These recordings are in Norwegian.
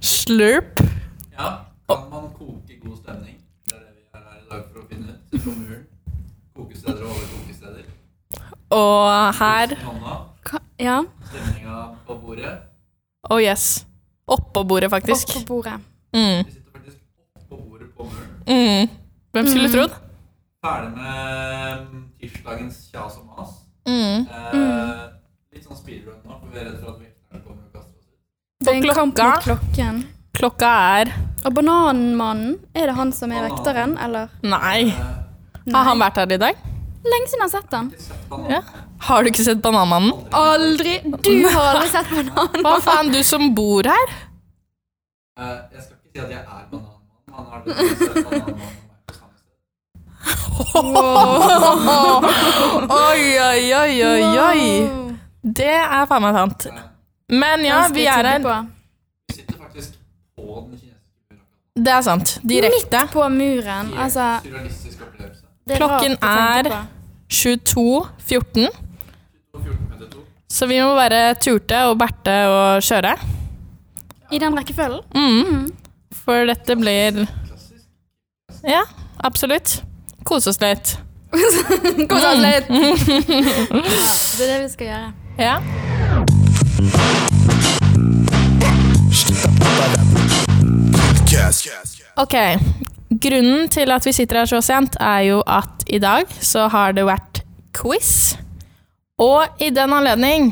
slurp. Ja, kan man koke god stemning? Det er det vi er her i dag for å finne ut. Fra muren. Kokesteder og overkokesteder. Og her Pulsen i hånda, Ka- Ja, Stemninga på bordet. Oh yes. Oppå bordet, opp faktisk. på bordet. Mm. Vi sitter faktisk oppå bordet på muren. Mm. Hvem skulle trodd? Ferdig med mm, tirsdagens kjas og mas. Mm. Eh, litt sånn speedrun nå, for vi er redd for at vekterne kommer og kaster oss ut. Det er en kamp klokka. mot klokken. Klokka er Og Bananmannen, er det han som er vekteren, eller? Nei. Eh, Har han vært her i dag? Lenge siden jeg har sett han. ikke sett banan. Ja. Har du ikke sett Bananmannen? Aldri! Du har aldri sett banan. Hva faen, du som bor her? Eh, jeg skal ikke si at jeg er bananmann. Han har aldri sett bananmannen og meg på samme sted. Oi, oi, oi, oi, oi. Det er faen meg sant. Eh, Men ja, vi er her. Vi sitter faktisk på den kinesiske murakka. Det er sant. Direkte. Midt på muren. Altså, Surrealistisk opplevelse. det er rart Klokken å tenke er- på. 22.14. 14.52. Så vi må bare turte og berte og kjøre. I den rekkefølgen? Mm. For dette blir Klassisk. Ja, absolutt. Kose oss litt. Kos oss litt! Ja, det er det vi skal gjøre. Ja. Ok, grunnen til at vi sitter her så sent er jo at i dag så har det vært quiz. Og i den anledning,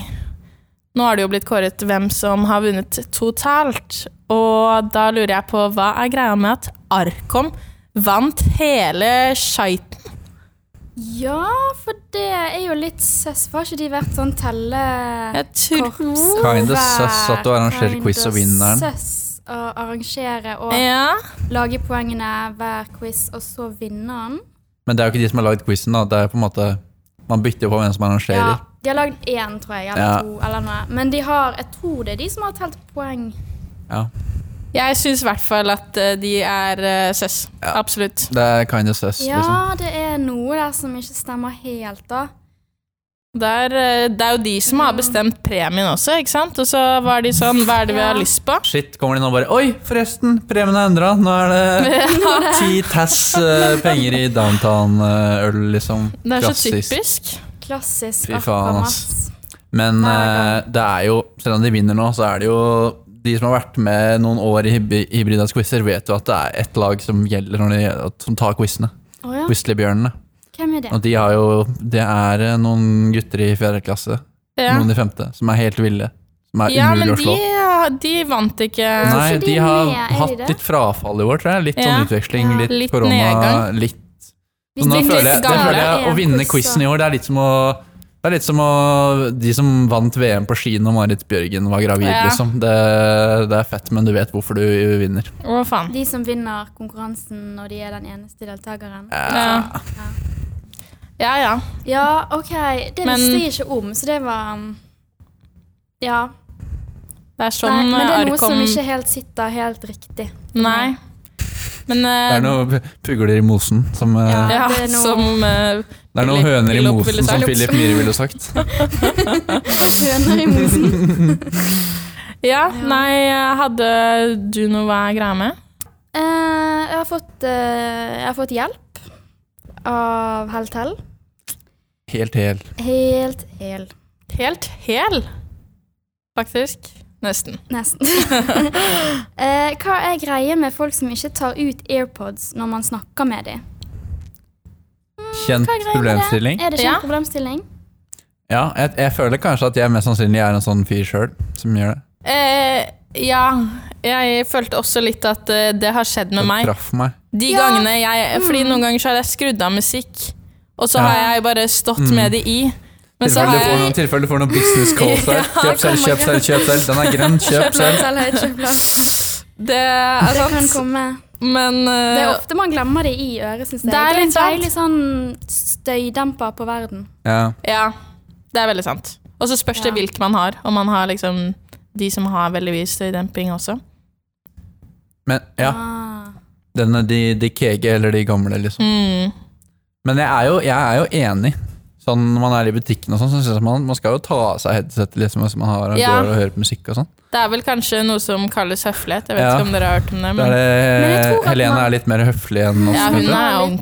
nå har det jo blitt kåret hvem som har vunnet totalt, og da lurer jeg på hva er greia med at Arkom vant hele skiten? Ja, for det er jo litt søss. Har ikke de vært sånn telle... Jeg tror... Kinda søss at du arrangerer quiz og vinner den. Søss å arrangere og Ja, lage poengene hver quiz, og så vinne den. Men det er jo ikke de som har lagd quizen, da. Det er på en måte Man bytter jo på hvem som arrangerer. Ja, de har lagd én, tror jeg, eller Ja. to, eller noe. Men de har, jeg tror det er de som har telt poeng. Ja. jeg synes i hvert fall at eh, de er eh, søs. Absolutt. Det er kinda søss, liksom. Ja, det er noe der som ikke stemmer helt, da. Det er, eh, det er jo de som Mm. har bestemt premien også, ikke sant? Og så var de sånn, hva er det vi har Ja. lyst på? Shit, kommer de nå og bare Oi, forresten, premien er endra! Nå er det ti tass eh, penger i downtown-øl, liksom. Det er så Klassisk. typisk. Klassisk. Fy faen, Aquamas. ass. Men Hver eh, det er jo, selv om de vinner nå, så er det jo de som har vært med noen år i hyb- Hybridas quizer, vet jo at det er ett lag som gjelder når de, som tar quizene. Å ja, Quizlebjørnene. hvem er det? Og de har jo Det er eh, noen gutter i fjerde klasse, Ja, noen i femte, som er helt ville. Som er ja men umulig å de, slå. de vant ikke Nei, Så de de er har med, er de hatt det? litt frafall i år, tror jeg. Litt Ja. sånn utveksling, Ja. litt, Litt korona, nedgang. litt Hvis så nå de føler jeg, ikke det gamle føler jeg er å vinne quiz, quizen i år, det er litt som å det er litt som å, de som vant VM på ski når Marit Bjørgen var gravid. Ja. liksom. Det, det er fett, men du vet hvorfor du vinner. Å, faen. De som vinner konkurransen når de er den eneste deltakeren. Ja. ja, ja. Ja, OK. Det Men- visste jeg ikke om, så det var um, Ja. Det er Nei, sånn men det er noe som Arkom... ikke helt sitter helt riktig. Nei. Men eh, Det er noen pugler i mosen. Som, eh, Ja. ja, det er noe- som eh, Det er noen Philip- høner i Philip ville mosen, som sagt. Philip Myhre ville sagt. Høner i mosen. Ja, nei, hadde du noe hva er greia med? Eh, jeg, har fått, eh, jeg har fått hjelp av Heltell. Helt hel. Helt hel. Helt hel, faktisk. Nesten. Nesten. Eh, hva er greia med folk som ikke tar ut AirPods når man snakker med dem? Kjent Mm, Hva er greia med det? problemstilling. Er det ikke Ja. en problemstilling? Ja, jeg, jeg føler kanskje at jeg mest sannsynlig er en sånn fyr sjøl som gjør det. Eh, ja, jeg følte også litt at eh, det har skjedd med Som meg. Traff meg. De Ja. Mm. gangene jeg Fordi noen ganger så har jeg skrudd av musikk, og så Ja. Mm. har jeg bare stått med det i. Men så Tilfelle har du får jeg noen, tilfelle du får noen business calls der. Ja, Kjøp selv, kom kjøp selv, kjøp selv. Den er grønn, kjøp selv. Det er Det kan sant, komme. men Det er eh, ofte man glemmer det i øret, syns jeg. Det er en litt sant. deilig sånn støydemper på verden. Ja. Ja, det er veldig sant. Og så spørs det Ja. hvilke man har. Om man har liksom de som har veldig mye støydemping også. Men ja, Ah. denne, de, de kege eller de gamle, liksom. Mm. Men jeg er jo, jeg er jo enig. Sånn når man er i butikken og sånn, så synes jeg man, man skal jo ta av seg headsetet liksom, hvis man har og Ja. Mm. går og hører på musikk og sånn. Det er vel kanskje noe som kalles høflighet. Jeg vet Ja. ikke om dere har hørt om det. Det Men er Men jeg det, tror at Helene man- er litt mer høflig enn oss. Ja, hun kanskje. er litt-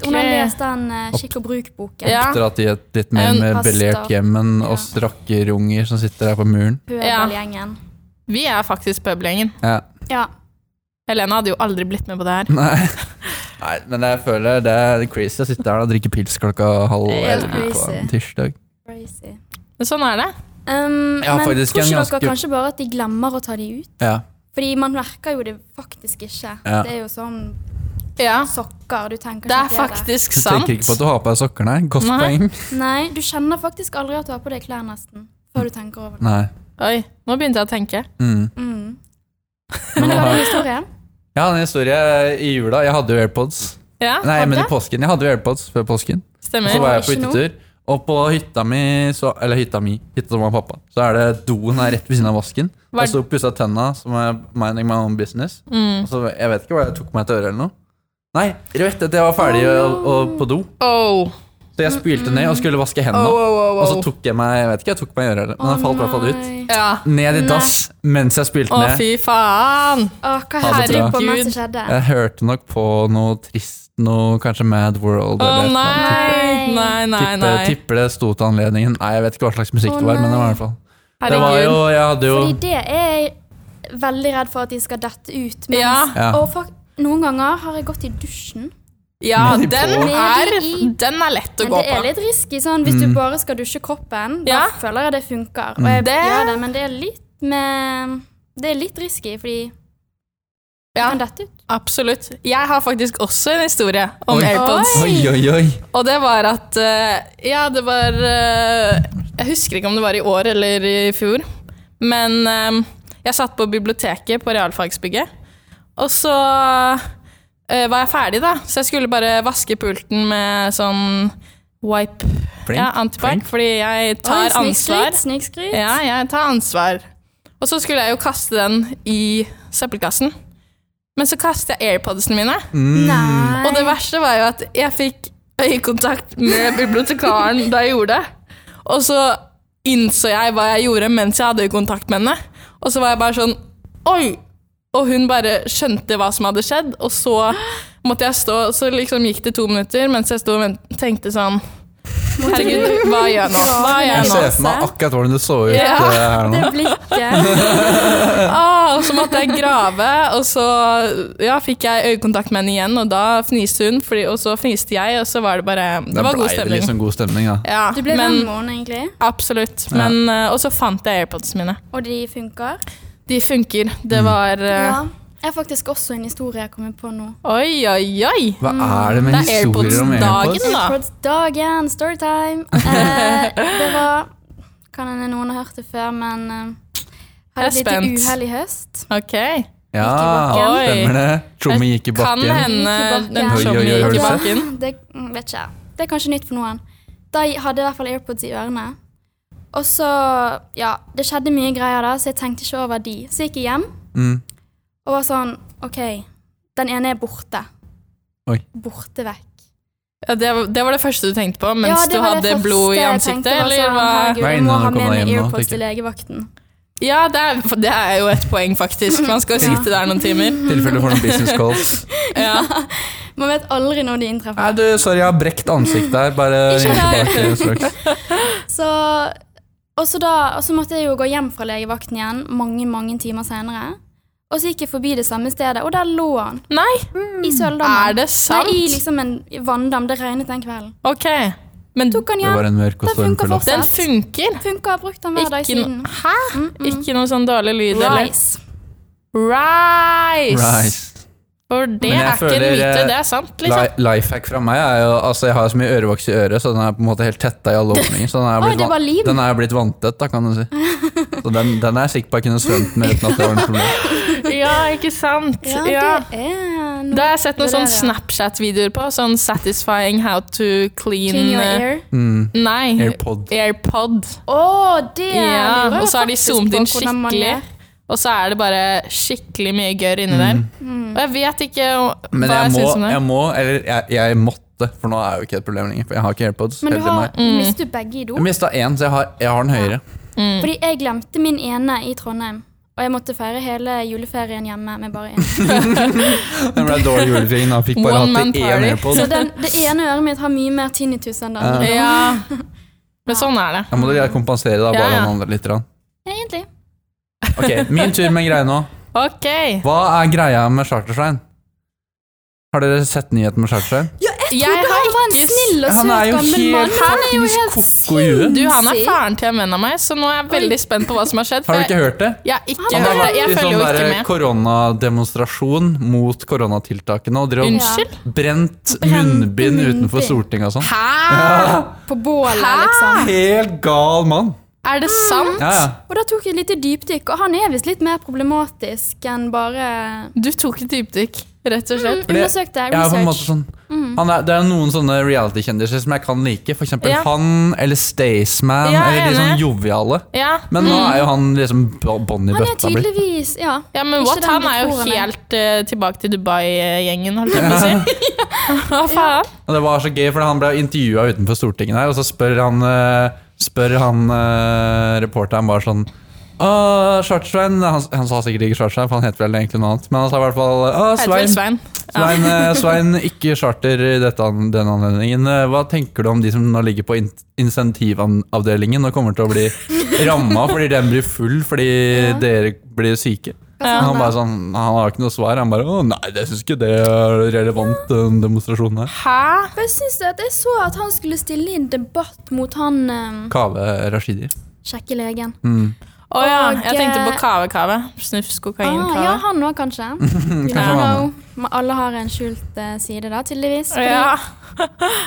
Hun har ordentlig- lest den eh, Skikk og bruk-boken. Ja. Dratt i et litt mer, Hun mer passer. belert hjem enn oss rakkerunger som sitter der på muren. Pøbelgjengen. vi er faktisk pøbelgjengen. Ja. Ja. Helene hadde jo aldri blitt med på det her. Nei. Nei, men jeg føler det er crazy å sitte her og drikke pils klokka halv Det er elleve på crazy. en tirsdag. Crazy. Men sånn er det. Um, Jeg har men tror faktisk en ikke ganske- dere kanskje bare at de glemmer å ta de ut? Ja. Fordi man merker jo det faktisk ikke. Ja. Det er jo sånn Ja, sokker, du tenker det ikke er på det. faktisk Du sant. tenker ikke på at du har på deg sokker, nei? Godt Nei. poeng. Nei, du kjenner faktisk aldri at du har på deg klær, nesten. Før du tenker over det. Nei. Oi, nå begynte jeg å tenke. Mm. Mm. Nå Men det var har- den historien. Ja, en historie i jula. Jeg hadde jo AirPods. Ja, Nei, hadde? men i påsken. Jeg hadde jo AirPods før påsken. Og Stemmer. så var jeg på Ikke noe. hyttetur. Og på hytta mi, så, eller hytta mi, hytta til mamma og pappa, så er det doen er rett ved siden av vasken. Var- Jeg sto og pussa tenna, som er minding my own business. Mm. Og så, jeg vet ikke hva jeg tok meg til øret eller noe. Nei, rett etter jeg var ferdig og, og på do. Oh. Så jeg spylte ned og skulle vaske Oh, hendene. oh, oh, Og så oh. tok jeg meg jeg vet ikke, jeg tok meg i øret, eller- men jeg falt i hvert fall ut. nei. Ja. Ned i Nei. dass mens jeg spilte Å, ned. fy faen! Å, hva Ha det hørte bra. du på mens det Gud. skjedde? Jeg hørte nok på noe trist, noe kanskje Mad World Å eller et eller annet. nei! Nei. Nei, nei, Tipper, nei. tipper det sto til anledningen. Nei, jeg vet ikke hva slags musikk Å, det var, men det var i nei. hvert fall Det var jo, Herregud. jeg hadde jo Fordi det er jeg veldig redd for at de skal dette ut. Mens, Ja. Ja. Og fak- noen ganger har jeg gått i dusjen. Ja, Nedi på. den er, Nedi i- den er lett å Men gå det er på. litt risky sånn, hvis du bare skal dusje kroppen. Da Ja. føler jeg det funker. Og jeg Det- gjør det, men det er litt med Det er litt risky, fordi Ja. kan dette ut. Absolutt. Jeg har faktisk også en historie om Oi. AirPods. Oi, oi, oi! Og det var at eh, Ja, det var eh, Jeg husker ikke om det var i år eller i fjor. Men eh, jeg satt på biblioteket på realfagsbygget. Og så eh, var jeg ferdig, da. Så jeg skulle bare vaske pulten med sånn wipe. Flink, ja, antibac. flink. Fordi jeg Oi, tar ansvar. Snikskryt. snikskryt. Ja, jeg tar ansvar. Og så skulle jeg jo kaste den i søppelkassen. Men så kaster jeg airpodsene mine. Nei. Og det verste var jo at jeg fikk øyekontakt med bibliotekaren da jeg gjorde det. Og så innså jeg hva jeg gjorde mens jeg hadde øyekontakt med henne. Og så var jeg bare sånn Oi! Og hun bare skjønte hva som hadde skjedd, og så måtte jeg stå. Så liksom gikk det to minutter mens jeg sto og vent- tenkte sånn Herregud, hva gjør jeg nå? Hva gjør Jeg jeg nå? ser for meg akkurat hvordan det så ut Ja. eh, her nå. Det blikket. Ah, og så måtte jeg grave, og så ja, fikk jeg øyekontakt med henne igjen, og da fniste hun, fordi, og så fniste jeg, og så var det bare Det, Da var ble god det stemning. liksom god stemning, da. Ja, Du ble men, venn egentlig, Absolutt. Ja. Men, eh, og så fant jeg airpodsene mine. og de funker. De funker. Det Mm. var eh, Ja. Jeg har faktisk også en historie jeg kommer på nå. Oi, oi, oi! Hva er det med Mm. Det er historier om AirPods-dagen, AirPods? da. Airpods-dagen, storytime. Eh, det var Kan hende noen har hørt det før, men eh, hadde Jeg et er lite spent. uhell i høst. Ok. Ja, Oi. stemmer det. Trommi gikk i Kan bakken. hende Gikk i bakken. den Oi, oi, shopper oi, har gikk du i sett? bakken. Det mm, vet ikke jeg. Det er kanskje nytt for noen. Da hadde jeg i hvert fall AirPods i ørene. Og så Ja, det skjedde mye greier da, så jeg tenkte ikke over de. Så gikk jeg hjem Mm. og var sånn OK, den ene er borte. Oi. Borte vekk. Ja, det, var- det var det første du tenkte på mens Ja, det du var det hadde første blod i jeg ansiktet? tenkte, var Eller sånn, hva? Herregud, Nei, jeg må nå ha kommer med jeg meg hjem nå, AirPods tenker jeg. til legevakten. Ja, det er, for det er jo et poeng, faktisk. Man skal jo Ja. sitte der noen timer. I tilfelle for noen business calls. Ja. Man vet aldri når de inntreffer. Nei, du, sorry, jeg har brekt ansiktet her. Bare Ikke ring tilbake det. straks. Så, og, så da, og så måtte jeg jo gå hjem fra legevakten igjen mange mange timer senere. Og så gikk jeg forbi det samme stedet, og der lå han. Nei, Mm. I er søldammen. det sant? Nei, I liksom en vanndam. Det regnet den kvelden. Ok. Men Tok han Det hjem. var en mørk og Det funker stormfull aften. den funker. Funka, brukt den hver dag Ikke, siden. Mm, no Hæ? Ikke noe sånn dårlig lyd, eller? Rice. Rice! Rise. For det Men jeg er ikke en føler, myte, eh, det er sant, liksom. sånn- Li- Lifehack fra meg er jo Altså, jeg har så mye ørevoks i øret, så den er på en måte helt tetta i alle åpninger. Så den er Oi, blitt, det var van- lim. den er blitt vanntett, da, kan du si. Så den, den er jeg sikker på jeg kunne svømt med uten at det var noe problem. Ja, ikke sant? Ja, Ja. det er noe Da har jeg sett noen Det der, sånne ja. Snapchat-videoer på, sånn satisfying how to clean in your eh, ear. Mm. Nei. AirPod. Airpod. Å, det Ja, lurer jeg og så har de faktisk zoomet på inn hvordan man skikkelig. gjør. Og så er det bare Mm. skikkelig mye gørr inni der. Og jeg vet ikke hva Mm. Men jeg, jeg må, syns om det. jeg må eller jeg, jeg måtte måte, for nå er jo ikke et problem lenger. For jeg har ikke AirPods. Men du heldig har, meg. Mm. mister du begge i do? Jeg mista én, så jeg har, jeg har den høyere. Mm. Fordi jeg glemte min ene i Trondheim. Og jeg måtte feire hele juleferien hjemme med bare én. Den ble dårlig julefeiring. Han fikk bare One hatt man i én party. AirPod. Så den, det ene øret mitt har mye mer tinnitus enn det andre. Ja. Men sånn er det. Jeg må dere kompensere da, Ja, bare ja. den andre litt. grann. Ja, egentlig. Ok, Min tur med en greie nå. Ok. Hva er greia med Charterstein? Har dere sett nyheten med Charterstein? Jeg har Han var en snill og søt Han er jo gammel mann. helt Han er jo fuckings helt koko i huet. Du, han er sinnssyk. faren til en venn av meg, så nå er jeg veldig spent på hva som har skjedd. For Har dere jeg, ikke hørt det? jeg, har ikke Han Han har hørt det. vært i jeg følger jo sånn ikke der med. koronademonstrasjon mot koronatiltakene. Og dere har Unnskyld? brent Brente munnbind utenfor munnbind. Stortinget og sånn. Hæ? På bålet, Hæ? liksom. Helt gal mann! Er det sant? Ja, ja. Og da tok jeg et lite dypdykk, og han er visst litt mer problematisk enn bare Du tok et dypdykk, rett og Mm. slett. Undersøkte Jeg er på en måte research. sånn Mhm. han er, Det er noen sånne reality-kjendiser som jeg kan like. For eksempel Ja. han eller Staysman. Ja, eller de enig. Mhm. sånn joviale. Ja, Men nå er jo han liksom bo- bånn i Han er bøtta blitt. tydeligvis Ja. ja men Ikke what? den Han du er jo tror han er. helt eh, tilbake til Dubai-gjengen, holdt jeg på å si. Hva faen? Og det var så gøy, for han ble intervjua utenfor Stortinget der, og så spør han, eh, spør han eh, reporteren bare sånn Åh, Svartsvein han, han sa sikkert ikke Svartsvein, for han heter vel egentlig noe annet. Men han sa i hvert fall Heter Åh, vel Svein, Svein. Svein, eh, Svein, ikke charter i dette, an- den anledningen. Eh, Hva tenker du om de som nå ligger på in insentivavdelingen og kommer til å bli ramma fordi den blir full fordi Ja. dere blir syke? Hva sa Han, han bare da? sånn, han har ikke noe svar. Han bare 'Å nei, jeg syns ikke det er relevant, den demonstrasjonen her'. Hæ? For Jeg synes det at jeg så at han skulle stille i en debatt mot han um, Kaveh Rashidi. sjekke legen. Mm. Å ja, jeg Og, tenkte på eh, kave-kave. Snufs, kokain, Ah, ja, kave. han òg, kanskje. You Kanskje don't han know. Men Alle har en skjult eh, side, da, tydeligvis. Fordi- Ja.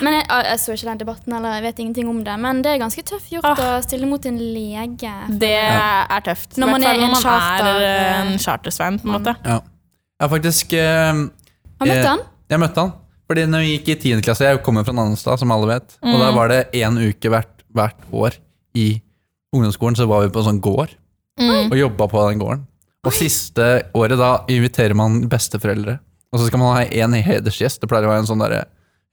Men jeg, ah, jeg så ikke den debatten, eller jeg vet ingenting om det. Men det er ganske tøft gjort Ah. Mm. å stille mot en lege. Det er tøft. I Når man hvert fall er en når man charter- er eh, en chartersvein, på en måte. Ja. Jeg har faktisk eh, Har eh, møtt han? Jeg møtte han. Fordi når vi gikk i 10. klasse, jeg kommer fra Nannestad, som alle vet, og der var det én uke hvert, hvert år i ungdomsskolen, så var vi på en sånn gård og jobba på den gården. Og siste året da inviterer man besteforeldre, og så skal man ha én hedersgjest. Det pleier å være en sånn derre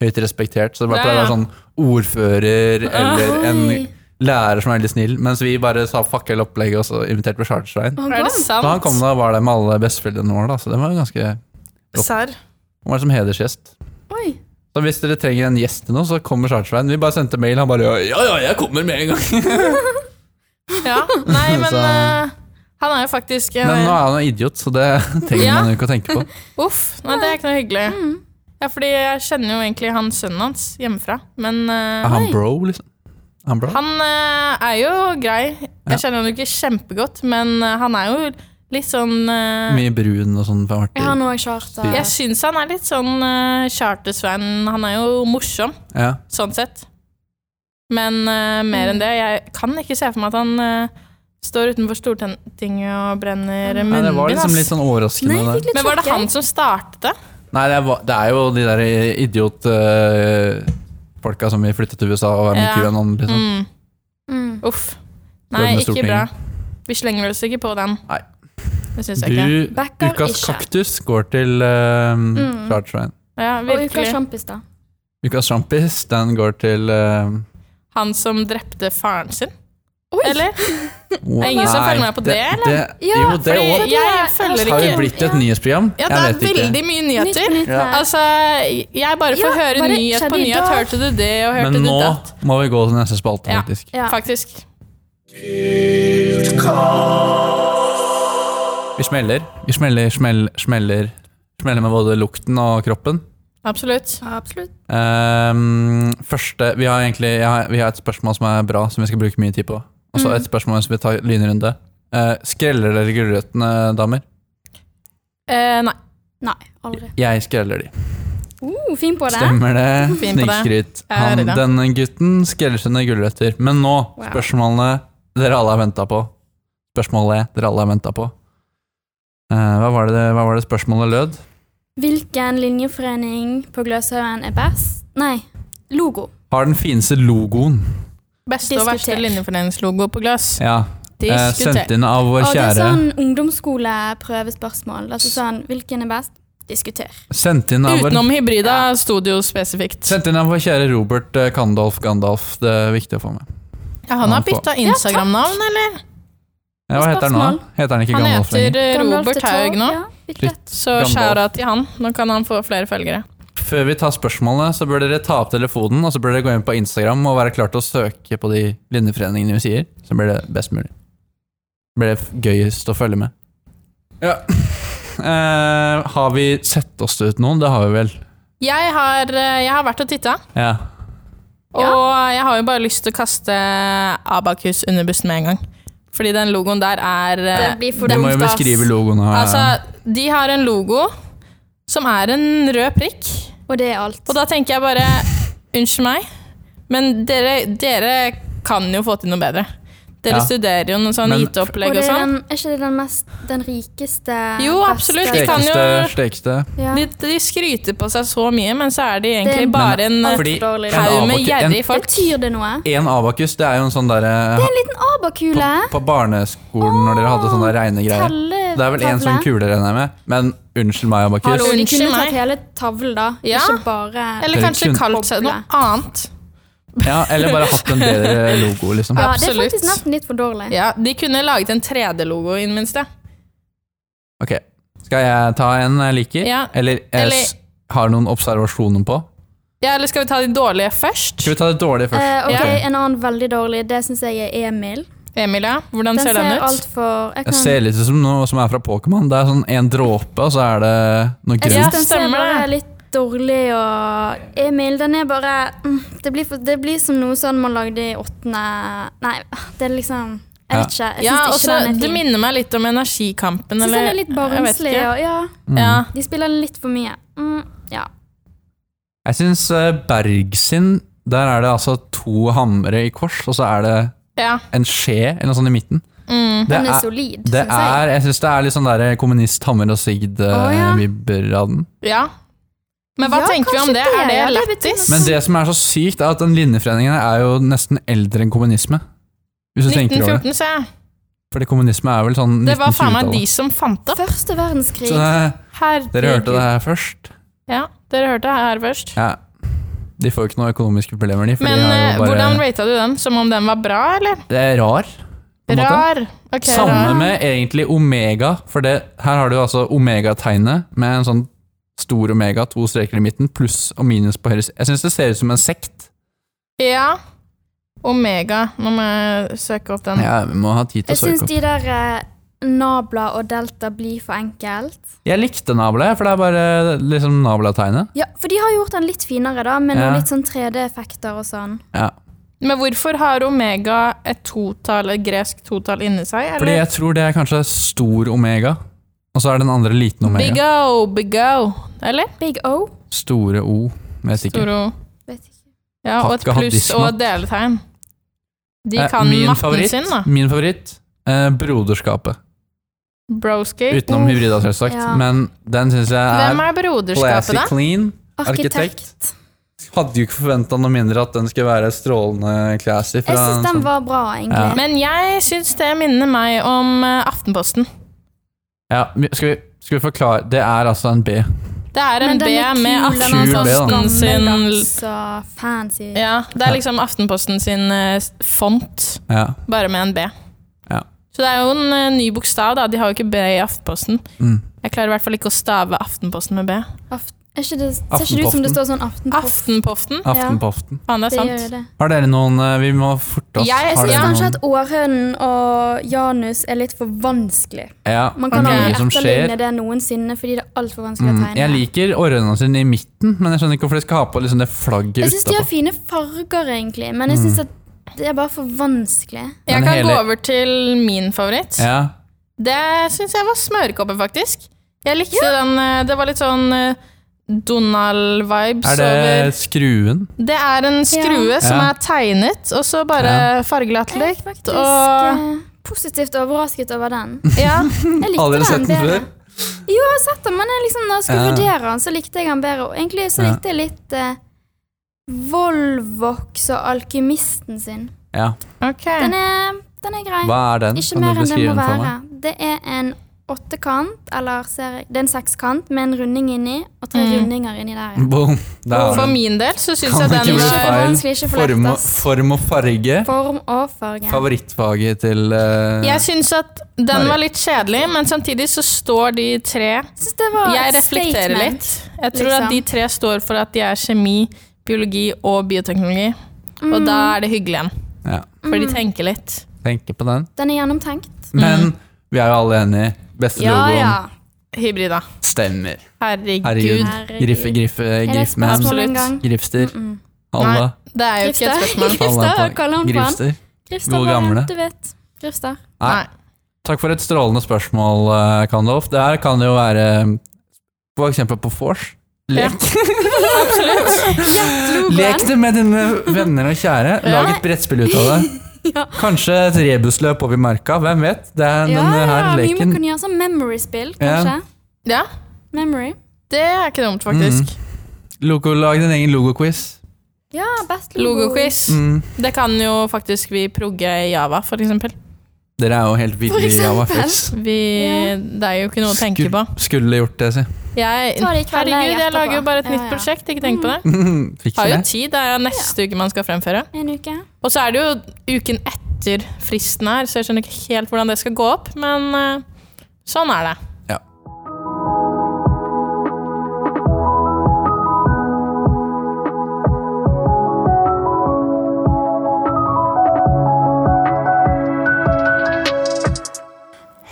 høyt respektert, så det bare Ja, pleier å ja. være sånn ordfører eller en Oi. lærer som er veldig snill, mens vi bare sa fuck hele opplegget, og så inviterte vi Chartersveien. Han Er kom. det sant? Da han kom, da var det med alle besteforeldrene våre, da, så det var jo ganske Serr. Han var som hedersgjest. Oi. Så hvis dere trenger en gjest til noe, så kommer Chartersveien. Vi bare sendte mail, han bare ja, ja, jeg kommer med en gang. Ja. Nei, men Så- eh, han er jo faktisk eh, Men nå er han en idiot, så det trenger Ja. man jo ikke å tenke på. Uff. Nei, det er ikke noe hyggelig. Ja, fordi jeg kjenner jo egentlig han sønnen hans hjemmefra, men eh, Er han bro, liksom? Er Han bro? Han eh, er jo grei. Jeg kjenner han jo ikke kjempegodt, men eh, han er jo litt sånn eh, Mye brun og sånn. fra Jeg har Martin. noe charter. Jeg syns han er litt sånn uh, chartersvein. Han er jo morsom, Ja. sånn sett. Men eh, mer enn det Jeg kan ikke se for meg at han eh, står utenfor Stortinget og brenner Nei, det var munnbind. liksom litt ass. sånn Nei, jeg overraskende. fikk Der. litt Men var det sjokk, han jeg. som startet det? Nei, det er, va- det er jo de der eh, idiotfolka som vil flytte til USA og være med Ja. QAnon, liksom. Mm. Mm. Uff. Nei, med ikke bra. Stortinget. Vi slenger oss ikke på den. Nei. Det syns jeg ikke. Du, Backer ukas ikke. kaktus går til uh, Mm. Chartersveien. Ja, Og ukas virkelig. sjampis, da. Ukas sjampis, den går til eh, Han som drepte faren sin, Oi. eller? Wow. Er ingen som følger med på det, eller? Ja, jo, det fordi- også. jeg følger Har vi ikke- blitt et nyhetsprogram? Ja, det jeg er vet ikke. veldig mye Nytt på nyheter. nytt. Ja. her. Altså, jeg bare får Ja, høre hva det nyhet på skjedde i nyhet. dag? Hørte du det, og hørte Men du nå det? må vi gå til neste spalte, Ja. faktisk. Ja. Faktisk. Vi smeller. Vi smeller, smell, smeller. Smeller med både lukten og kroppen. Absolutt. Absolutt. Ehm, første Vi har egentlig jeg har, vi har et spørsmål som er bra, som vi skal bruke mye tid på. Og Mm. så et spørsmål som vi tar lynrunde. Eh, skreller dere gulrøttene, damer? Eh, nei. Nei, aldri. Jeg skreller de. Uh, fin på det. Stemmer det. Fin på det. Snikskryt. Jeg er Han- redd. Denne gutten skreller sine gulrøtter. Men nå, Wow. spørsmålene dere alle har venta på. Spørsmålet dere alle har venta på. Eh, hva, var det, hva var det spørsmålet lød? Hvilken linjeforening på Gløshaugen er best? Nei, logo. Har den fineste logoen. Beste og verste Diskuter. linjeforeningslogo på glass. Ja. Eh, Diskuter. sendt inn av vår Og det er kjære sånn ungdomsskoleprøvespørsmål. Altså sånn, hvilken er best? Diskuter. Sendt inn av vår, Utenom hybrida sto det jo spesifikt. sendt inn av vår kjære Robert eh, Kandolf Gandalf. Det er viktig å få med. Ja, han har bytta Ja, takk. Instagram-navn, eller? Ja, hva heter han nå? Spørsmål. Heter han ikke Han Gandalf lenger? heter eh, Gandalf Robert til Haug tolv, nå. ja, virkelig. Så Gandalf. skjæra til han. Nå kan han få flere følgere. Før vi tar spørsmålene, så bør dere ta opp telefonen og så bør dere gå inn på Instagram og være klar til å søke på de linjeforeningene vi sier. Så blir det best mulig. Blir det f- gøyest å følge med. Ja. Eh, har vi sett oss ut noen? Det har vi vel. Jeg har, eh, jeg har vært og titta, Ja. og jeg har jo bare lyst til å kaste Abakus under bussen med en gang. Fordi den logoen der er eh, Det blir for Du må jo dumt, ass. beskrive logoen. Her. Altså, de har en logo som er en rød prikk. Og det er alt. Og da tenker jeg bare Unnskyld meg, men dere, dere kan jo få til noe bedre. Dere Ja. studerer jo noe sånn Men- IT-opplegg og det er, sånn. den, er ikke det den mest Den rikeste Jo, beste- absolutt, de kan- stekeste, jo- stekeste. ja. De, de skryter på seg så mye, men så er de egentlig Det- bare en Men- eh, Fordi dårlig. en haug med abaku- gjerrige folk. Betyr det noe? En, en abakus, det er jo en sånn derre Det er en liten på, abakule. på barneskolen når dere hadde sånne reine greier. Telle- Det er vel én tavle. sånn kule, regner jeg med. Men unnskyld meg, abakus. Hallo, Så de Unnskyld kunne meg. tatt hele tavlen, da. Ja. Ikke bare Eller Dere kanskje kunne- kalt seg noe annet. Ja, eller bare hatt en bedre logo, liksom. Ja, det er Absolutt. faktisk nesten litt for dårlig. Ja, De kunne laget en 3D-logo i det minste. Ok, skal jeg ta en jeg liker? Ja. Eller jeg Eller- s- har noen observasjoner på? Ja, Eller skal vi ta de dårlige først? Skal vi ta det dårlige først? Eh, ok, Ok. En annen veldig dårlig, det syns jeg er Emil. Emilia, hvordan Den ser den ut? ser altfor Jeg Det kan ser litt ut som noe som er fra Pokémon. Det er sånn en dråpe, og så er det noe Jeg Ja, syns grønt. den ser stemmer bare det. litt dårlig og Emil, den er bare mm, det blir, for, det blir som noe sånn man lagde i åttende Nei, det er liksom Jeg vet ikke. Jeg syns Ja, ikke også, den er Det fin. minner meg litt om Energikampen. Jeg syns eller- den er litt jeg vet barnslig. ikke. og- Mm. Ja, Ja. de spiller litt for mye. Mm, ja. Jeg syns Bergsin Der er det altså to hamre i kors, og så er det ja. Mm. en skje eller noe sånt i midten. Det Den er er, solid, det syns jeg. er Jeg syns det er litt sånn der kommunist Hammer og Å, ja. Sigd-vibber av den. Ja. Men hva Ja, tenker vi om kanskje det? det, Er det ja, det betyr lættis? noe. Men det som er så sykt, er at den linjeforeningen er jo nesten eldre enn kommunisme. Hvis du tenker over det. 1914, ser jeg. Fordi kommunisme er vel sånn Det var faen meg de 1920-tallet. som fant opp. Første verdenskrig. Så eh, Herregud. dere hørte det her først? Ja, dere hørte det her først. Ja. De får jo ikke noen økonomiske problemer, de. For Men de har eh, jo bare, hvordan rata du den? Som om den var bra, eller? Det er rar. på en måte. Rar. Ok, Samme rar. med egentlig omega, for det, her har du altså omega-tegnet med en sånn stor omega, to streker i midten, pluss og minus på høyre side. Jeg syns det ser ut som en sekt. Ja. Omega. Nå må jeg søke opp den. Ja, vi må ha tid til Jeg å søke syns opp. de der eh, nabla og delta blir for enkelt. Jeg likte nabla, for det er bare liksom nabla-tegnet. Ja, for de har gjort den litt finere, da, med Ja. noen litt sånn 3D-effekter og sånn. Ja. Men hvorfor har omega et totall, et gresk totall inni seg? Fordi Eller? jeg tror det er kanskje stor omega, og så er den andre liten Big omega. O, big O. Eller? Big O. Store O, vet ikke. Toro. Vet ikke. Ja, og et Hakka pluss og hadismat. et deletegn. De Eh, kan min matten favoritt, sin, da. Min favoritt, eh, Broderskapet. Broski. Utenom Uff, hybrida, selvsagt. Eh, oh. ja. Men den syns jeg Hvem er, er broderskapet, classy da? clean. Arkitekt. Arkitekt. Hadde jo ikke forventa noe mindre at den skulle være strålende classy. sånn- Jeg syns den var bra, Ja. egentlig. Men jeg syns det minner meg om eh, Aftenposten. ja, vi- skal, vi, skal vi forklare Det er altså en B. Det er en Men den B er med kul, den er sånn Aftenposten sin Gammeldags og fancy. Ja, det er liksom Aftenposten sin eh, font, Ja. bare med en B. Ja. Så det er jo en eh, ny bokstav, da. De har jo ikke B i Aftenposten. Mm. Jeg klarer i hvert fall ikke å stave Aftenposten med B. Aft er ikke det, ser ikke det ut som det står sånn Aftenpost? Aftenpoften. Aftenpoften. Faen, det er Det gjør jo sant. det. Har dere noen eh, Vi må forte oss. Jeg Har Jeg syns dere kanskje noen- at Århønen og Janus er litt for vanskelig. ja, Man kan mye aldri som etterligne skjer. det noensinne fordi det er altfor vanskelig å Mm, tegne. jeg liker orrene sine i midten, men jeg skjønner ikke hvorfor de skal ha på liksom det flagget Jeg syns de har utapå. fine farger, egentlig, men jeg Mm. syns at det er bare for vanskelig. Jeg Men kan gå hele- over til min favoritt. Ja. Det syns jeg var smørkåpe, faktisk. Jeg likte den eh, Det var litt sånn eh, Donald-vibes Er det skruen? over Det er en skrue Ja. som Ja. er tegnet, og så bare fargelatt Jeg er likt. faktisk Og eh, positivt overrasket over den. ja. Jeg likte Aldri den sett den bedre. før? Jo, jeg har sett den, men jeg liksom, når jeg skulle Ja. vurdere den, så likte jeg den bedre. Og egentlig så Ja. likte jeg litt eh, Volvox og Alkymisten sin. Ja. Ok. Den er, den er grei. Hva er den? Ikke Kan du mer enn det beskrive må den for meg? være. Det er en åttekant, eller ser jeg Det er en sekskant med en runding inni, og tre Mm. rundinger inni der. Ja. Boom! Der er For den. min del så syns jeg Kan ikke den bli var feil. vanskelig ikke å få lagt, Form og, ass. form og farge. Form og farge. Favorittfaget til eh, Jeg syns at den Mari. var litt kjedelig, men samtidig så står de tre Jeg synes det var Jeg et reflekterer statement. litt. Jeg tror liksom. at de tre står for at de er kjemi, biologi og bioteknologi. Mm, Og da er det hyggelig igjen, ja, for de tenker litt. Tenker på den. Den er gjennomtenkt. Men vi er jo alle enige. Beste logoen Hybrida. stemmer. Herregud. Herregud. Herregud. Griffe, griffe, Er det et griffmann. spørsmål Absolutt. en gang? Mm. Grifster. Nei, Alle. det er jo ikke et spørsmål. Grifter, alle er på- kaller han på han. Grifster. Grifstad, Gode bare, gamle. Du vet. Grifstad. Nei. Nei. Takk for et strålende spørsmål, eh, Kandolf. Det her kan jo være eh, for eksempel på vors. Lek. Lek det med dine venner og kjære. Lag et brettspill ut av det. Ja. Kanskje et rebusløp over marka. Hvem vet? Det er Ja, denne her ja, vi må leken. kunne gjøre sånn memory-spill, Ja. kanskje. Ja, Memory. det er ikke dumt, faktisk. Mm. Logo, lag din egen logoquiz. Ja, best logo. Logoquiz. Mm. Det kan jo faktisk vi progge i Java, for eksempel. Dere er jo helt ville i eksempel. Javafix. Vi, Ja. det er jo ikke noe å tenke på. Skulle gjort det, si. Jeg, Ta det i kveld, herregud, jeg etterpå. lager jo bare et Ja, Mm. nytt ja. prosjekt, ikke tenk på det. Fikser Har jo det. tid, det er jo neste uke man skal fremføre. En uke. Og så er det jo uken etter fristen her, så jeg skjønner ikke helt hvordan det skal gå opp, men eh, sånn er det. Ja.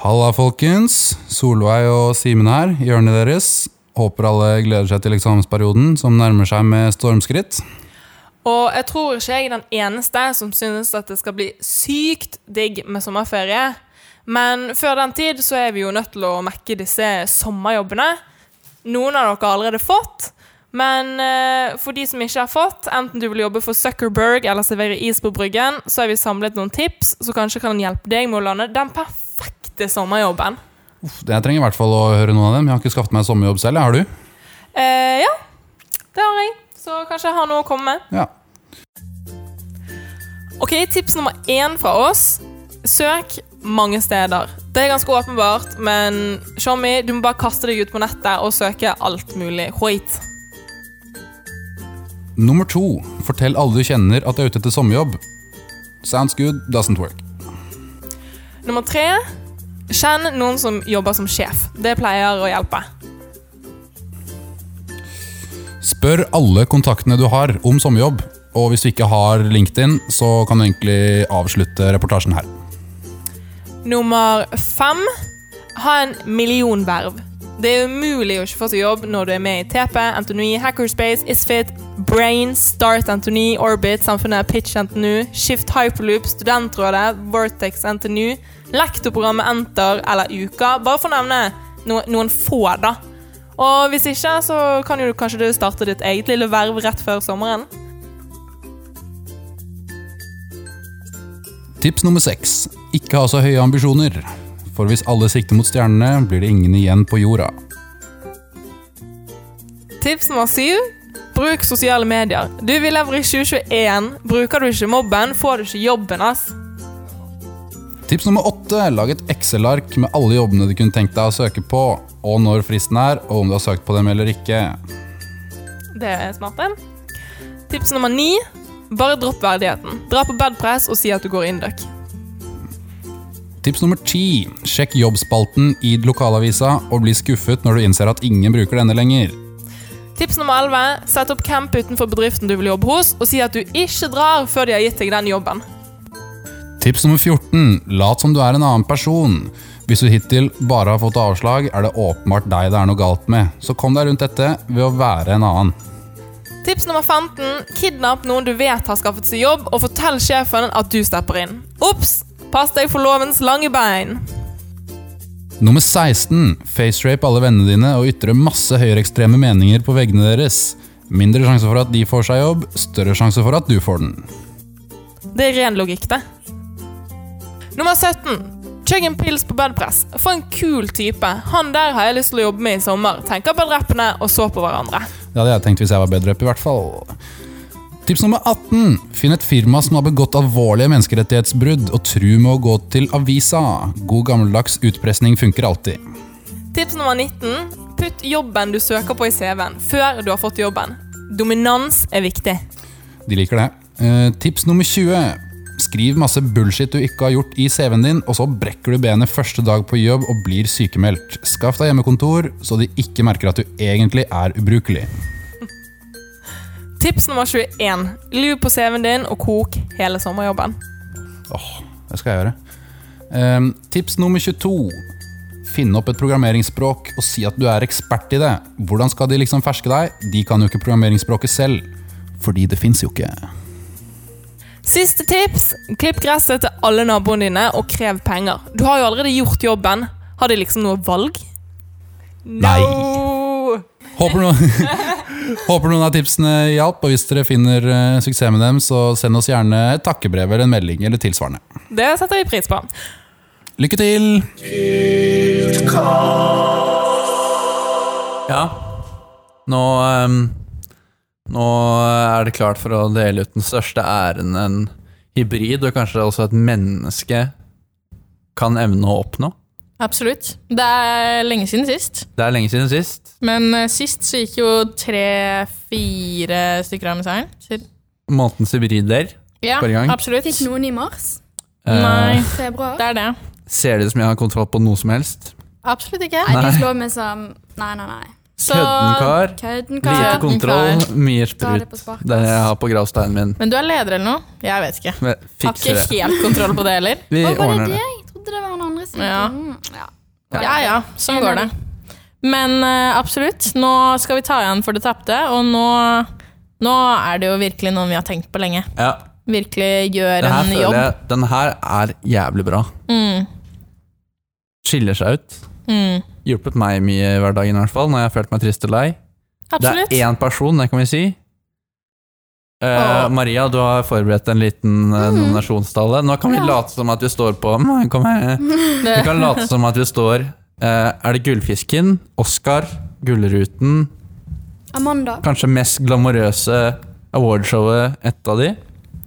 Halla, folkens. Solveig og Simen her i hjørnet deres. Håper alle gleder seg til eksamensperioden, som nærmer seg med stormskritt. Og jeg tror ikke jeg er den eneste som synes at det skal bli sykt digg med sommerferie. Men før den tid så er vi jo nødt til å mekke disse sommerjobbene. Noen av dere har allerede fått, men eh, for de som ikke har fått, enten du vil jobbe for Zuckerberg eller servere is på bryggen, så har vi samlet noen tips som kanskje kan hjelpe deg med å lande den perfekte sommerjobben. Uff, Jeg trenger i hvert fall å høre noen av dem. Jeg har ikke skaffet meg sommerjobb selv. Har du? Eh, ja, det har jeg. Så kanskje jeg har noe å komme med. Ja. Ok, tips nummer én fra oss. Søk mange steder. Det er ganske åpenbart, men Shommy, du må bare kaste deg ut på nettet og søke alt mulig. Hoit. Nummer to. Fortell alle du kjenner at du er ute etter sommerjobb. Sounds good, doesn't work. Nummer tre. Kjenn noen som jobber som sjef. Det pleier å hjelpe. Spør alle kontaktene du har om sommerjobb. Og hvis du ikke har LinkedIn, så kan du egentlig avslutte reportasjen her. Nummer fem. Ha en millionverv. Det er umulig å ikke få seg jobb når du er med i TP, Antony, Hackerspace, Isfit, Brain, Start Antony, Orbit, Samfunnet, Pitch NTNU, Shift Hyperloop, Studentrådet, Vortex NTNU, Lektorprogrammet Enter eller Uka. Bare for å nevne no noen få, da. Og hvis ikke, så kan jo kanskje du starte ditt eget lille verv rett før sommeren. Tips nummer seks. Ikke ha så høye ambisjoner. For hvis alle sikter mot stjernene, blir det ingen igjen på jorda. Tips nummer syv. Bruk sosiale medier. Du, vi lever i 2021. Bruker du ikke mobben, får du ikke jobben, ass. Tips nummer åtte. Lag et Excel-ark med alle jobbene du kunne tenkt deg å søke på, og når fristen er, og om du har søkt på dem eller ikke. Det er smart, en. Tips nummer ni. Bare dropp verdigheten. Dra på bedpress og si at du går induc. Tips nummer ti. Sjekk jobbspalten i lokalavisa, og bli skuffet når du innser at ingen bruker denne lenger. Tips nummer elleve. Sett opp camp utenfor bedriften du vil jobbe hos, og si at du ikke drar før de har gitt deg den jobben. Tips nummer 14. Lat som du er en annen person. Hvis du hittil bare har fått avslag, er det åpenbart deg det er noe galt med. Så kom deg rundt dette ved å være en annen. Tips nummer 15. Kidnapp noen du vet har skaffet seg jobb, og fortell sjefen at du stepper inn. Ops! Pass deg for lovens lange bein. Nummer 16. Facerape alle vennene dine og ytre masse høyreekstreme meninger på veggene deres. Mindre sjanse for at de får seg jobb, større sjanse for at du får den. Det er ren logikk, det. Nummer 17. Chug en pils på bedpress. For en kul type. Han der har jeg lyst til å jobbe med i sommer. Tenker på rappene og så på hverandre. Det hadde jeg tenkt hvis jeg var bedre opp, i hvert fall. Tips nummer 18. Finn et firma som har begått alvorlige menneskerettighetsbrudd, og tru med å gå til avisa. God gammeldags utpressning funker alltid. Tips nummer 19. Putt jobben du søker på i CV-en før du har fått jobben. Dominans er viktig. De liker det. Eh, tips nummer 20. Skriv masse bullshit du ikke har gjort i CV-en din, og så brekker du benet første dag på jobb og blir sykemeldt. Skaff deg hjemmekontor, så de ikke merker at du egentlig er ubrukelig. Tips nummer 21. Luv på CV-en din og kok hele sommerjobben. Det skal jeg gjøre. Ehm, tips nummer 22. Finn opp et programmeringsspråk og si at du er ekspert i det. Hvordan skal de liksom ferske deg? De kan jo ikke programmeringsspråket selv. Fordi det fins jo ikke. Siste tips. Klipp gresset til alle naboene dine og krev penger. Du har jo allerede gjort jobben. Har de liksom noe valg? No! Håper noen, håper noen av tipsene hjalp, og hvis dere finner eh, suksess med dem, så send oss gjerne et takkebrev eller en melding eller tilsvarende. Det setter vi pris på. Lykke til! Ja. Nå, ehm, nå er det klart for å dele ut den største æren en hybrid, og kanskje også et menneske kan evne å oppnå. Absolutt. Det er lenge siden sist. Det er lenge siden sist. Men eh, sist så gikk jo tre-fire stykker av med seieren. Sier- Månedens hybrider. Ja, Forrige gang. Eh. absolutt. Fikk noen i mars? Nei, Februar? det er det. Ser det ut som jeg har kontroll på noe som helst? Absolutt ikke. Nei, du slår meg som Nei, nei, nei. Så, Kødden kar. Kødden Lite kar. Kødden kontroll, mye Ta det sprut. på sparket. Det er det jeg har på gravsteinen min. men du er leder eller noe? Jeg vet ikke. Men Har ikke Fikser det. helt kontroll på det heller. Vi Å, var det ordner det. det? Jeg trodde det var den andre siden. Ja. Mm, ja. Ja ja, sånn går det. Men eh, absolutt. Nå skal vi ta igjen for det tapte, og nå, nå er det jo virkelig noen vi har tenkt på lenge. Ja. Virkelig gjør Den her en jobb. føler jeg Den her er jævlig bra. Mm, Skiller seg ut. mm. Hjulpet meg mye i hverdagen, i hvert fall, når jeg har følt meg trist og lei. Absolutt. Det er én person, det kan vi si. Eh, Åh. Mm. Maria, du har forberedt en liten eh, nominasjonstale. Nå kan vi Ja. late som at vi står på Mm, Kom her. Vi Det- kan late som at vi står eh, Er det Gullfisken, Oscar, Gullruten Amanda. Kanskje mest glamorøse awardshowet, ett av de.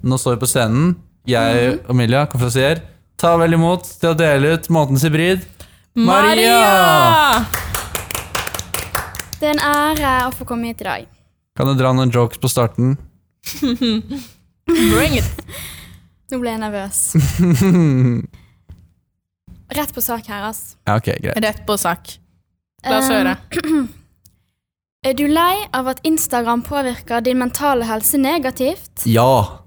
Nå står vi på scenen. Jeg Mm-hmm. og Milja, konferansier, tar vel imot til å dele ut månedens hybrid. Maria! Det er en ære å få komme hit i dag. Kan du dra noen jokes på starten? Bring it. Nå ble jeg nervøs. Rett på sak her, ass. Ja, ok, greit. Rett på sak. La oss Eh, høre. Er du lei av at Instagram påvirker din mentale helse negativt? Ja.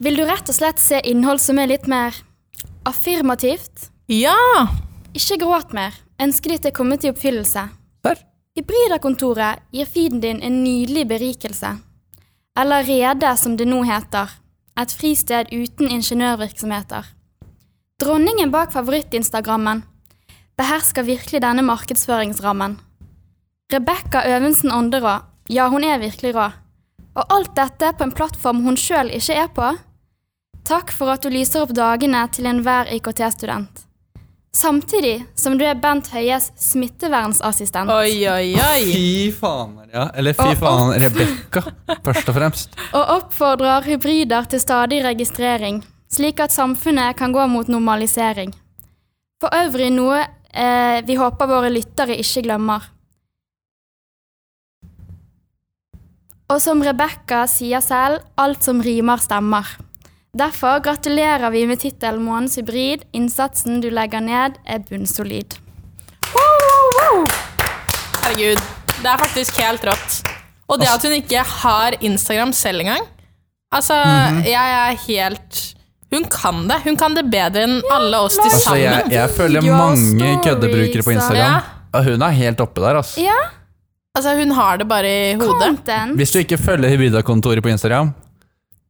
Vil du rett og slett se innhold som er litt mer affirmativt? Ja! Ikke gråt mer. Ønsket ditt er kommet i oppfyllelse. Der. Hybridakontoret gir feeden din en nydelig berikelse. Eller Rede, som det nå heter. Et fristed uten ingeniørvirksomheter. Dronningen bak favorittinstagrammen behersker virkelig denne markedsføringsrammen. Rebekka Øvensen Ånderå, ja, hun er virkelig rå. Og alt dette på en plattform hun sjøl ikke er på. Takk for at du lyser opp dagene til enhver IKT-student. Samtidig som du er Bent Høies smittevernassistent. Oi, oi, oi. Fy faen, Maria. Eller fy Og- faen, Rebekka, først og fremst. og oppfordrer hybrider til stadig registrering, slik at samfunnet kan gå mot normalisering. For øvrig noe eh, vi håper våre lyttere ikke glemmer. Og som Rebekka sier selv, alt som rimer, stemmer. Derfor gratulerer vi med tittelen 'Månens hybrid'. Innsatsen du legger ned, er bunnsolid. Herregud. Det er faktisk helt rått. Og det at hun ikke har Instagram selv engang Altså, Mhm. jeg er helt Hun kan det. Hun kan det bedre enn alle oss til Så Altså, jeg, sammen. jeg føler Video mange og stories, køddebrukere på og- Instagram. Ja, Hun er helt oppe der, altså. Ja, Altså, hun har det bare i hodet. content. Hvis du ikke følger Hybrida-kontoret på Instagram,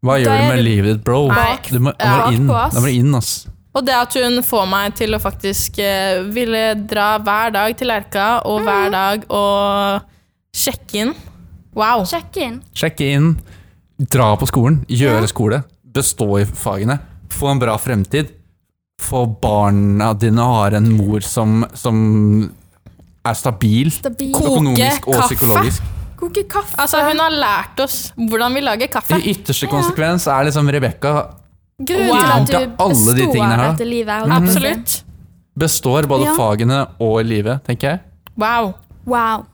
hva gjør Da du er med du livet ditt, bro? Nei, Du må, du må bak inn, på oss. du må inn ass. Og det at hun får meg til å faktisk eh, ville dra hver dag til Lerka, og hver dag og sjekke inn. Wow. Sjekk inn. Sjekke inn, dra på skolen, gjøre skole, bestå i fagene, få en bra fremtid. Få barna dine har en mor som, som er stabil, Stabil. Koke økonomisk og kaffe. psykologisk. Koke kaffe. Altså, hun har lært oss hvordan vi lager kaffe. I ytterste konsekvens er liksom Rebekka Grunnen Wow. til at Tenk du deg alle de tingene her, Mhm. består da. dette livet. holdt jeg på å si. Absolutt. består både Ja. fagene og livet, tenker jeg. Wow. Wow.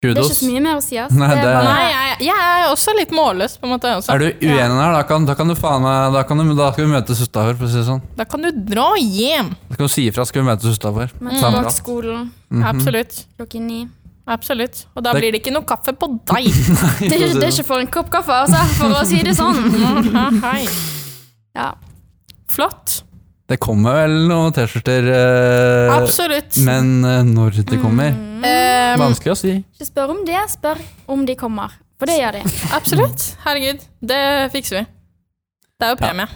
Det er ikke Kudos. så mye mer å si, ass. Nei, det er- Nei, jeg, jeg er også litt målløs, på en måte. altså. Også. Er du uenig her, da kan, da kan du faen meg Da, kan du, da skal vi møtes utafor, for å si det sånn. Da kan du dra hjem. Da skal du si ifra, skal vi møtes utafor. Tilbake skolen Absolutt. klokken ni. Absolutt. Og da Mhm. Det- blir det ikke noe kaffe på deg. Det er, sånn. ikke, det er ikke for en kopp kaffe, altså, for å si det sånn. Hei. Ja. Flott. Det kommer vel noen T-skjorter, eh, Absolutt. men eh, når Mm. det kommer Eh, Vanskelig å si. Ikke spør om det, spør om de kommer. For det gjør de. absolutt. Herregud, det fikser vi. Det er jo premie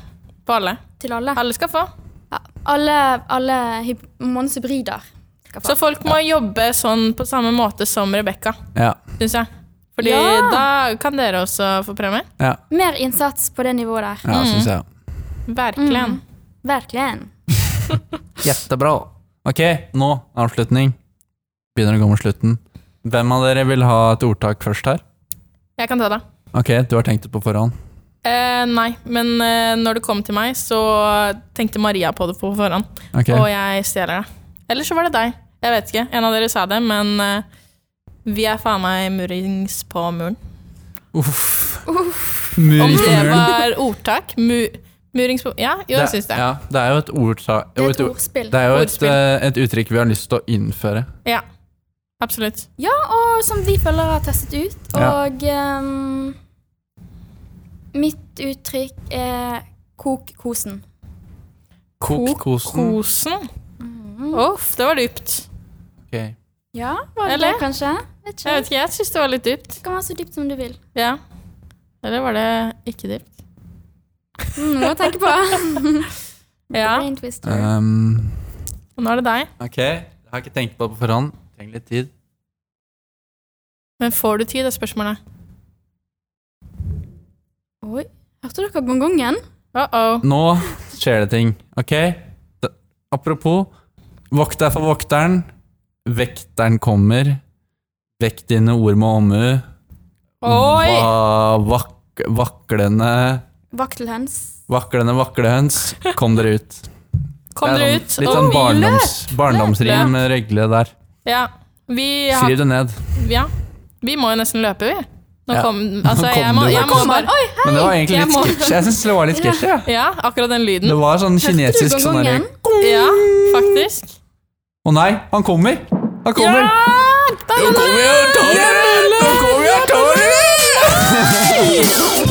på alle. Til alle. Alle skal få. Ja. Alle, alle hyb- månedens hybrider. skal få. Så folk må jobbe sånn på samme måte som Rebekka, Ja. syns jeg. Fordi Ja. da kan dere også få premie. Ja, Mer innsats på det nivået der. ja syns jeg. Virkelig. Virkelig. Jettebra. Ok, nå avslutning. Begynner å gå mot slutten. Hvem av dere vil ha et ordtak først her? Jeg kan ta det. Ok, du har tenkt det på forhånd. Eh, nei, men eh, når det kom til meg, så tenkte Maria på det på forhånd. Ok, Og jeg stjeler det. Eller så var det deg. Jeg vet ikke. En av dere sa det, men eh, vi er faen meg murings på muren. Uff. Om Murings på det muren. var ordtak mu, Murings på Ja, jo, jeg syns det. Ja, det er jo et ordtak Det er et ord- ordspill. Det er jo et, Ordspill. eh, et uttrykk vi har lyst til å innføre. Ja. Absolutt. Ja, og som vi følgere har testet ut. Og ehm, mitt uttrykk er kok kosen. Kok kosen. Kosen. Uff, det var dypt. Ok. Ja, var det Eller? det, kanskje? Vet ikke. Jeg vet ikke, jeg syns det var litt dypt. Det kan være så dypt som du vil. Ja. Eller var det ikke dypt? Mm, noe å tenke på. Ja. Brain twister. Um, Og nå er det deg. ok, jeg har ikke tenkt på det på forhånd. Trenger litt tid. Men får du tid, er spørsmålet. Oi, hørte dere gongongen? Uh -oh. Nå skjer det ting, ok? D- Apropos, vokt deg for vokteren. Vekteren kommer. Vekk dine ord med omhu. Mm, Oi! Va vak vaklende Vaktelhøns. Vaklende vaklehøns. Kom dere ut. Kom Det er dere sånn- ut. Litt og sånn hvile. barndoms, barndomsrim med regle der. Ja. Vi, har, Skriv det ned. ja. vi må jo nesten løpe, vi. Nå Ja. kom Altså, Nå jeg kom må, du. jeg Nå må kom bare Oi, hei! Men det var egentlig jeg litt må- sketsj. Jeg synes det var litt sketsj, ja. Ja, akkurat den Det lyden. var sånn kinesisk sånn gongongen? derre Ja, faktisk. Å nei, han kommer! Han Da, kommer! da, da. Han kommer, han kommer, han kommer, han kommer!